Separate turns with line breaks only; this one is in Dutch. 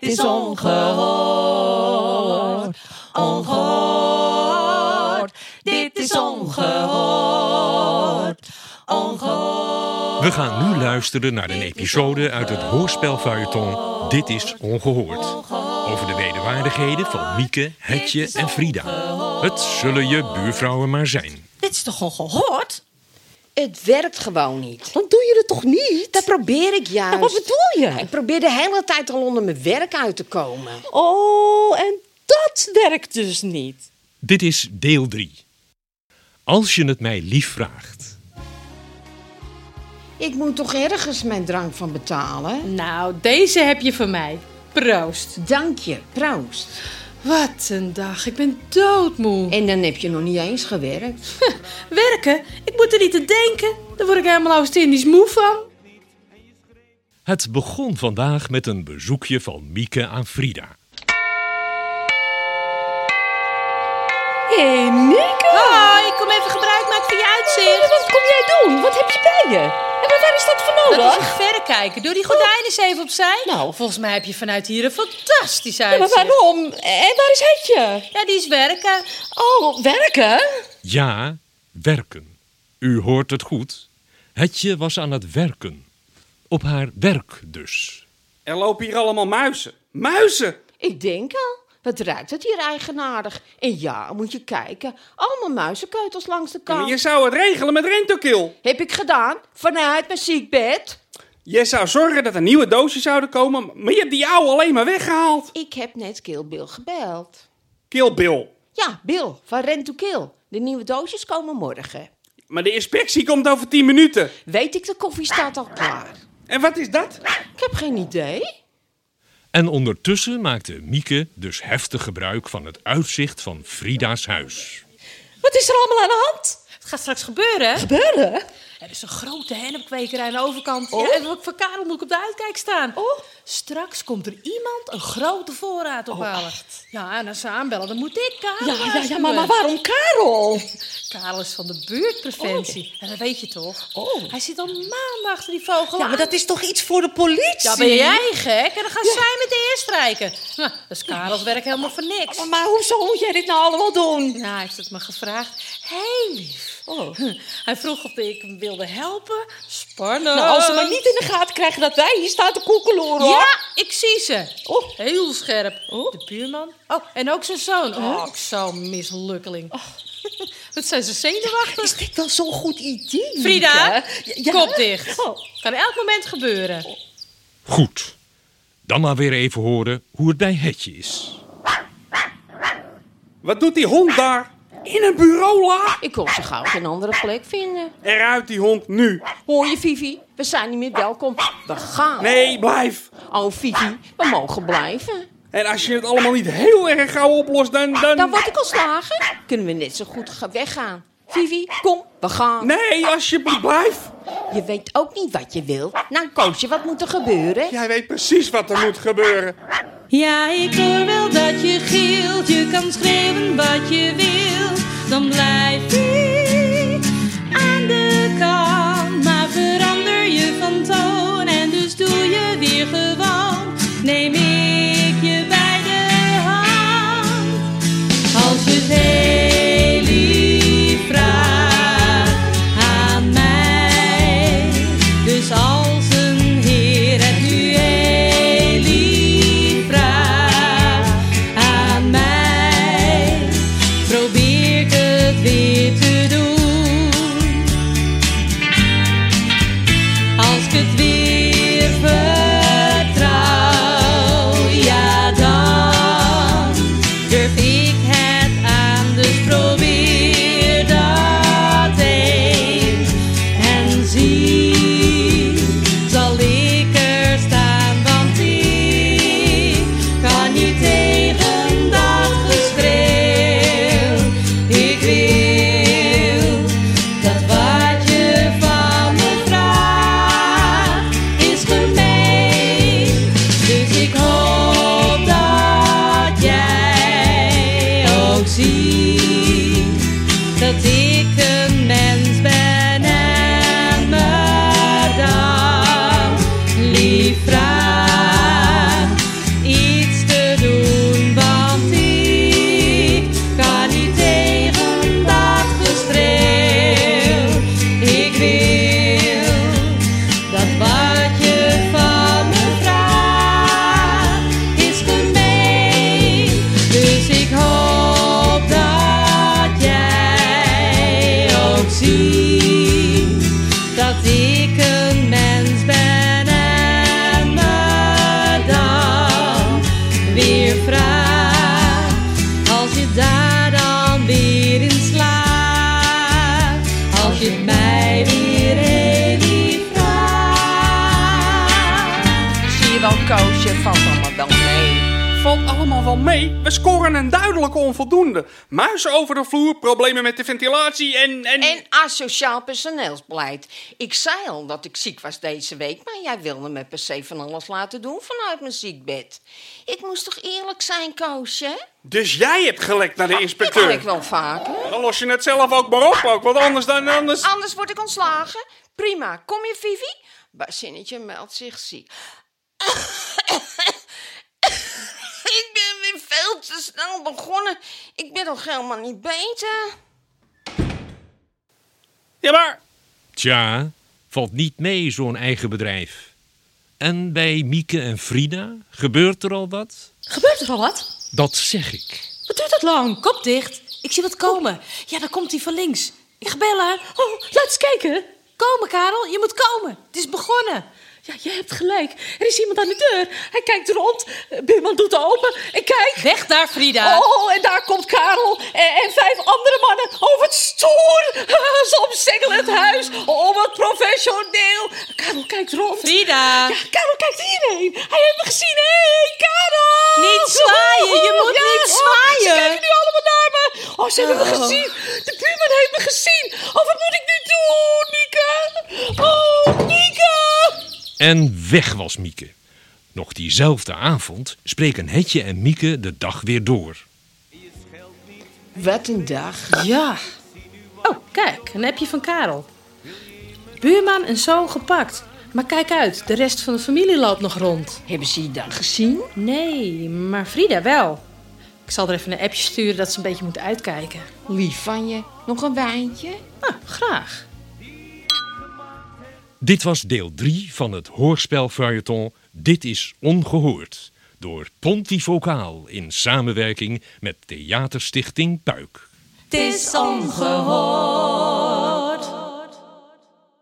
is ongehoord. Ongehoord. Dit is ongehoord. Ongehoord.
We gaan nu luisteren naar een episode uit het hoorspelfeuilleton Dit is Ongehoord. Over de wederwaardigheden van Mieke, Hetje en Frida. Het zullen je buurvrouwen maar zijn.
Dit is toch ongehoord?
Het werkt gewoon niet.
Dan doe je het toch niet?
Dat probeer ik juist.
Ja, wat bedoel je?
Ik probeer de hele tijd al onder mijn werk uit te komen.
Oh, en dat werkt dus niet.
Dit is deel 3. Als je het mij lief vraagt.
Ik moet toch ergens mijn drank van betalen?
Nou, deze heb je van mij. Proost.
Dank je, proost.
Wat een dag. Ik ben doodmoe.
En dan heb je nog niet eens gewerkt.
Werken? Ik moet er niet aan denken. Daar word ik helemaal oost-Indisch moe van.
Het begon vandaag met een bezoekje van Mieke aan Frida.
Hé, hey, Mieke.
Hoi, kom even gebruik maken van je
Wat,
uitzicht.
kom jij doen? Wat heb je bij je? En wat- waar is dat voor
Dat is
nodig?
een verrekijker. Doe die gordijn eens even opzij.
Nou.
Volgens mij heb je vanuit hier een fantastisch
Ja, maar
uitzicht.
waarom? En waar is Hetje?
Ja, die is werken.
Oh, werken?
Ja, werken. U hoort het goed. Hetje was aan het werken. Op haar werk dus.
Er lopen hier allemaal muizen. Muizen!
Ik denk al, wat ruikt het hier eigenaardig? En ja, moet je kijken, allemaal muizenkeutels langs de
Ja, maar
Oh.
kant.
je zou het regelen met Rentokil.
Heb ik gedaan, vanuit mijn ziekbed.
Je zou zorgen dat er nieuwe doosjes zouden komen, maar je hebt die oude alleen maar weggehaald.
Ik heb net Kill Bill gebeld.
Kill Bill.
Ja, Bill, van Rent to Kill. De nieuwe doosjes komen morgen.
Maar de inspectie komt over 10 minuten.
Weet ik, de koffie staat al klaar.
En wat is dat?
Ik heb geen idee.
En ondertussen maakte Mieke dus heftig gebruik van het uitzicht van Frida's huis.
Wat is er allemaal aan de hand?
Het gaat straks gebeuren. hè?
Beuren?
Er is een grote hennepkwekerij aan de overkant. Ja,
Oh.
en wat voor Karel moet ik op de uitkijk staan. Straks komt er iemand een grote voorraad ophalen. ja, en als ze aanbellen, dan moet ik
Oh, Ja,
Karel
ja, ja,
waarschuwen.
maar, maar waarom Karel?
Karel is van de buurtpreventie. En dat weet je toch?
Oh.
Hij zit al maanden achter die vogel
Ja,
aan.
maar dat is toch iets voor de politie?
Ja, ben jij gek? En dan gaan zij met de eerst strijken. Nou, dat is Karels werk helemaal voor niks.
Maar, maar hoezo moet jij dit nou allemaal doen?
Nou, hij heeft het me gevraagd. Heel lief. Hm.
Oh.
Hij vroeg of ik hem wilde helpen. Spannend.
Nou,
Eh.
als ze maar niet Oh. in de gaten krijgen dat wij hier staan te koekeloeren, hoor.
Ja, ik zie ze.
Oh.
Heel scherp. De buurman. Oh, en ook zijn zoon. Oh, ik zo'n mislukkeling. Wat zijn ze zenuwachtig?
Oh. Is dit wel zo'n goed idee?
Frida,
Mieke? Ja?
kop dicht.
Oh.
Kan elk moment gebeuren.
Goed. Dan maar weer even horen hoe het bij Hetje is.
Wat doet die hond daar? In een bureau la?
Ik kon zo gauw geen andere plek vinden.
Eruit die hond nu.
Hoor je, Vivi? We zijn niet meer welkom. We gaan.
Nee, blijf.
Oh, Vivi, we mogen blijven.
En als je het allemaal niet heel erg gauw oplost, dan... dan...
Dan word ik ontslagen. Kunnen we net zo goed ga- weggaan. Vivi, kom, we gaan.
Nee, alsjeblieft, blijf.
Je weet ook niet wat je wilt. Nou, koos je wat moet er gebeuren.
Jij weet precies wat er moet gebeuren.
Ja, ik hoor wel dat je gilt, je kan schreeuwen wat je wilt. Dan blijf ik aan de kant, maar verander je van toon en dus doe je weer gewoon. Neem ik je bij de hand. Als je het heel lief vraagt aan mij. Dus als een heer het u heel lief vraagt aan mij. Probeer ik het weer te doen. Als ik het weer vertrouw, ja dan durf ik het aan, dus probeer dat eens en zie. Zal ik er staan, want ik kan niet tegen dat geschreeuw. Ik wil dat wat je van me vraagt is gemeen. Dus ik hoop dat jij ook ziet dat ik een mens ben en me dan lief vraag. Iets Dus
wel, Koosje. Valt allemaal wel mee.
Valt allemaal wel mee. We scoren een duidelijke onvoldoende. Muizen over de vloer, problemen met de ventilatie en... en...
En asociaal personeelsbeleid. Ik zei al dat ik ziek was deze week, maar jij wilde me per se van alles laten doen vanuit mijn ziekbed. Ik moest toch eerlijk zijn, Koosje?
Dus jij hebt gelekt naar de
Dat kan ik
inspecteur.
wel Ah. vaker.
Dan los je het zelf ook maar op, ook, want anders dan anders...
Anders word ik ontslagen. Prima, kom je, Vivi? Bazinnetje meldt zich ziek. ik ben weer veel te snel begonnen. Ik ben nog helemaal niet beter.
Ja, maar...
Tja, valt niet mee zo'n eigen bedrijf. En bij Mieke en Frida gebeurt er al wat?
Gebeurt er al wat?
Dat zeg ik.
Wat duurt dat lang? Kop dicht. Ik zie wat komen. Ja, daar komt hij van links. Ik ga bellen.
Oh, laat eens kijken.
Komen, Karel. Je moet komen. Het is begonnen.
Ja, je hebt gelijk. Er is iemand aan de deur. Hij kijkt rond. Eh, Buurman doet open. Ik kijk.
Weg daar, Frida.
Oh, en daar komt Karel en, en vijf andere mannen. Oh, wat stoer. Ze omsingelen het huis. Oh, wat professioneel. Karel kijkt rond.
Frida.
Ja, Karel kijkt hierheen. Hij heeft me gezien. Hé, hey, Karel!
Niet zwaaien, je
Oeh,
moet
ja,
niet
oh, ze
zwaaien.
kijken nu allemaal naar me. Oh, ze hebben me gezien. De buurman heeft me gezien. Oh, wat moet ik nu doen, Mieke? Oh, Mieke!
En weg was Mieke. Nog diezelfde avond spreken Hetje en Mieke de dag weer door.
Wat een dag.
Ja. Oh, kijk, een appje van Karel. Buurman en zoon gepakt. Maar kijk uit, de rest van de familie loopt nog rond.
Hebben ze je dan gezien?
Nee, maar Frida wel. Ik zal er even een appje sturen dat ze een beetje moet uitkijken.
Lief van je. Nog een wijntje?
Nou, graag.
Dit was deel 3 van het hoorspelfeuilleton Dit is Ongehoord. Door Pontifocaal in samenwerking met Theaterstichting Puik.
Het is ongehoord.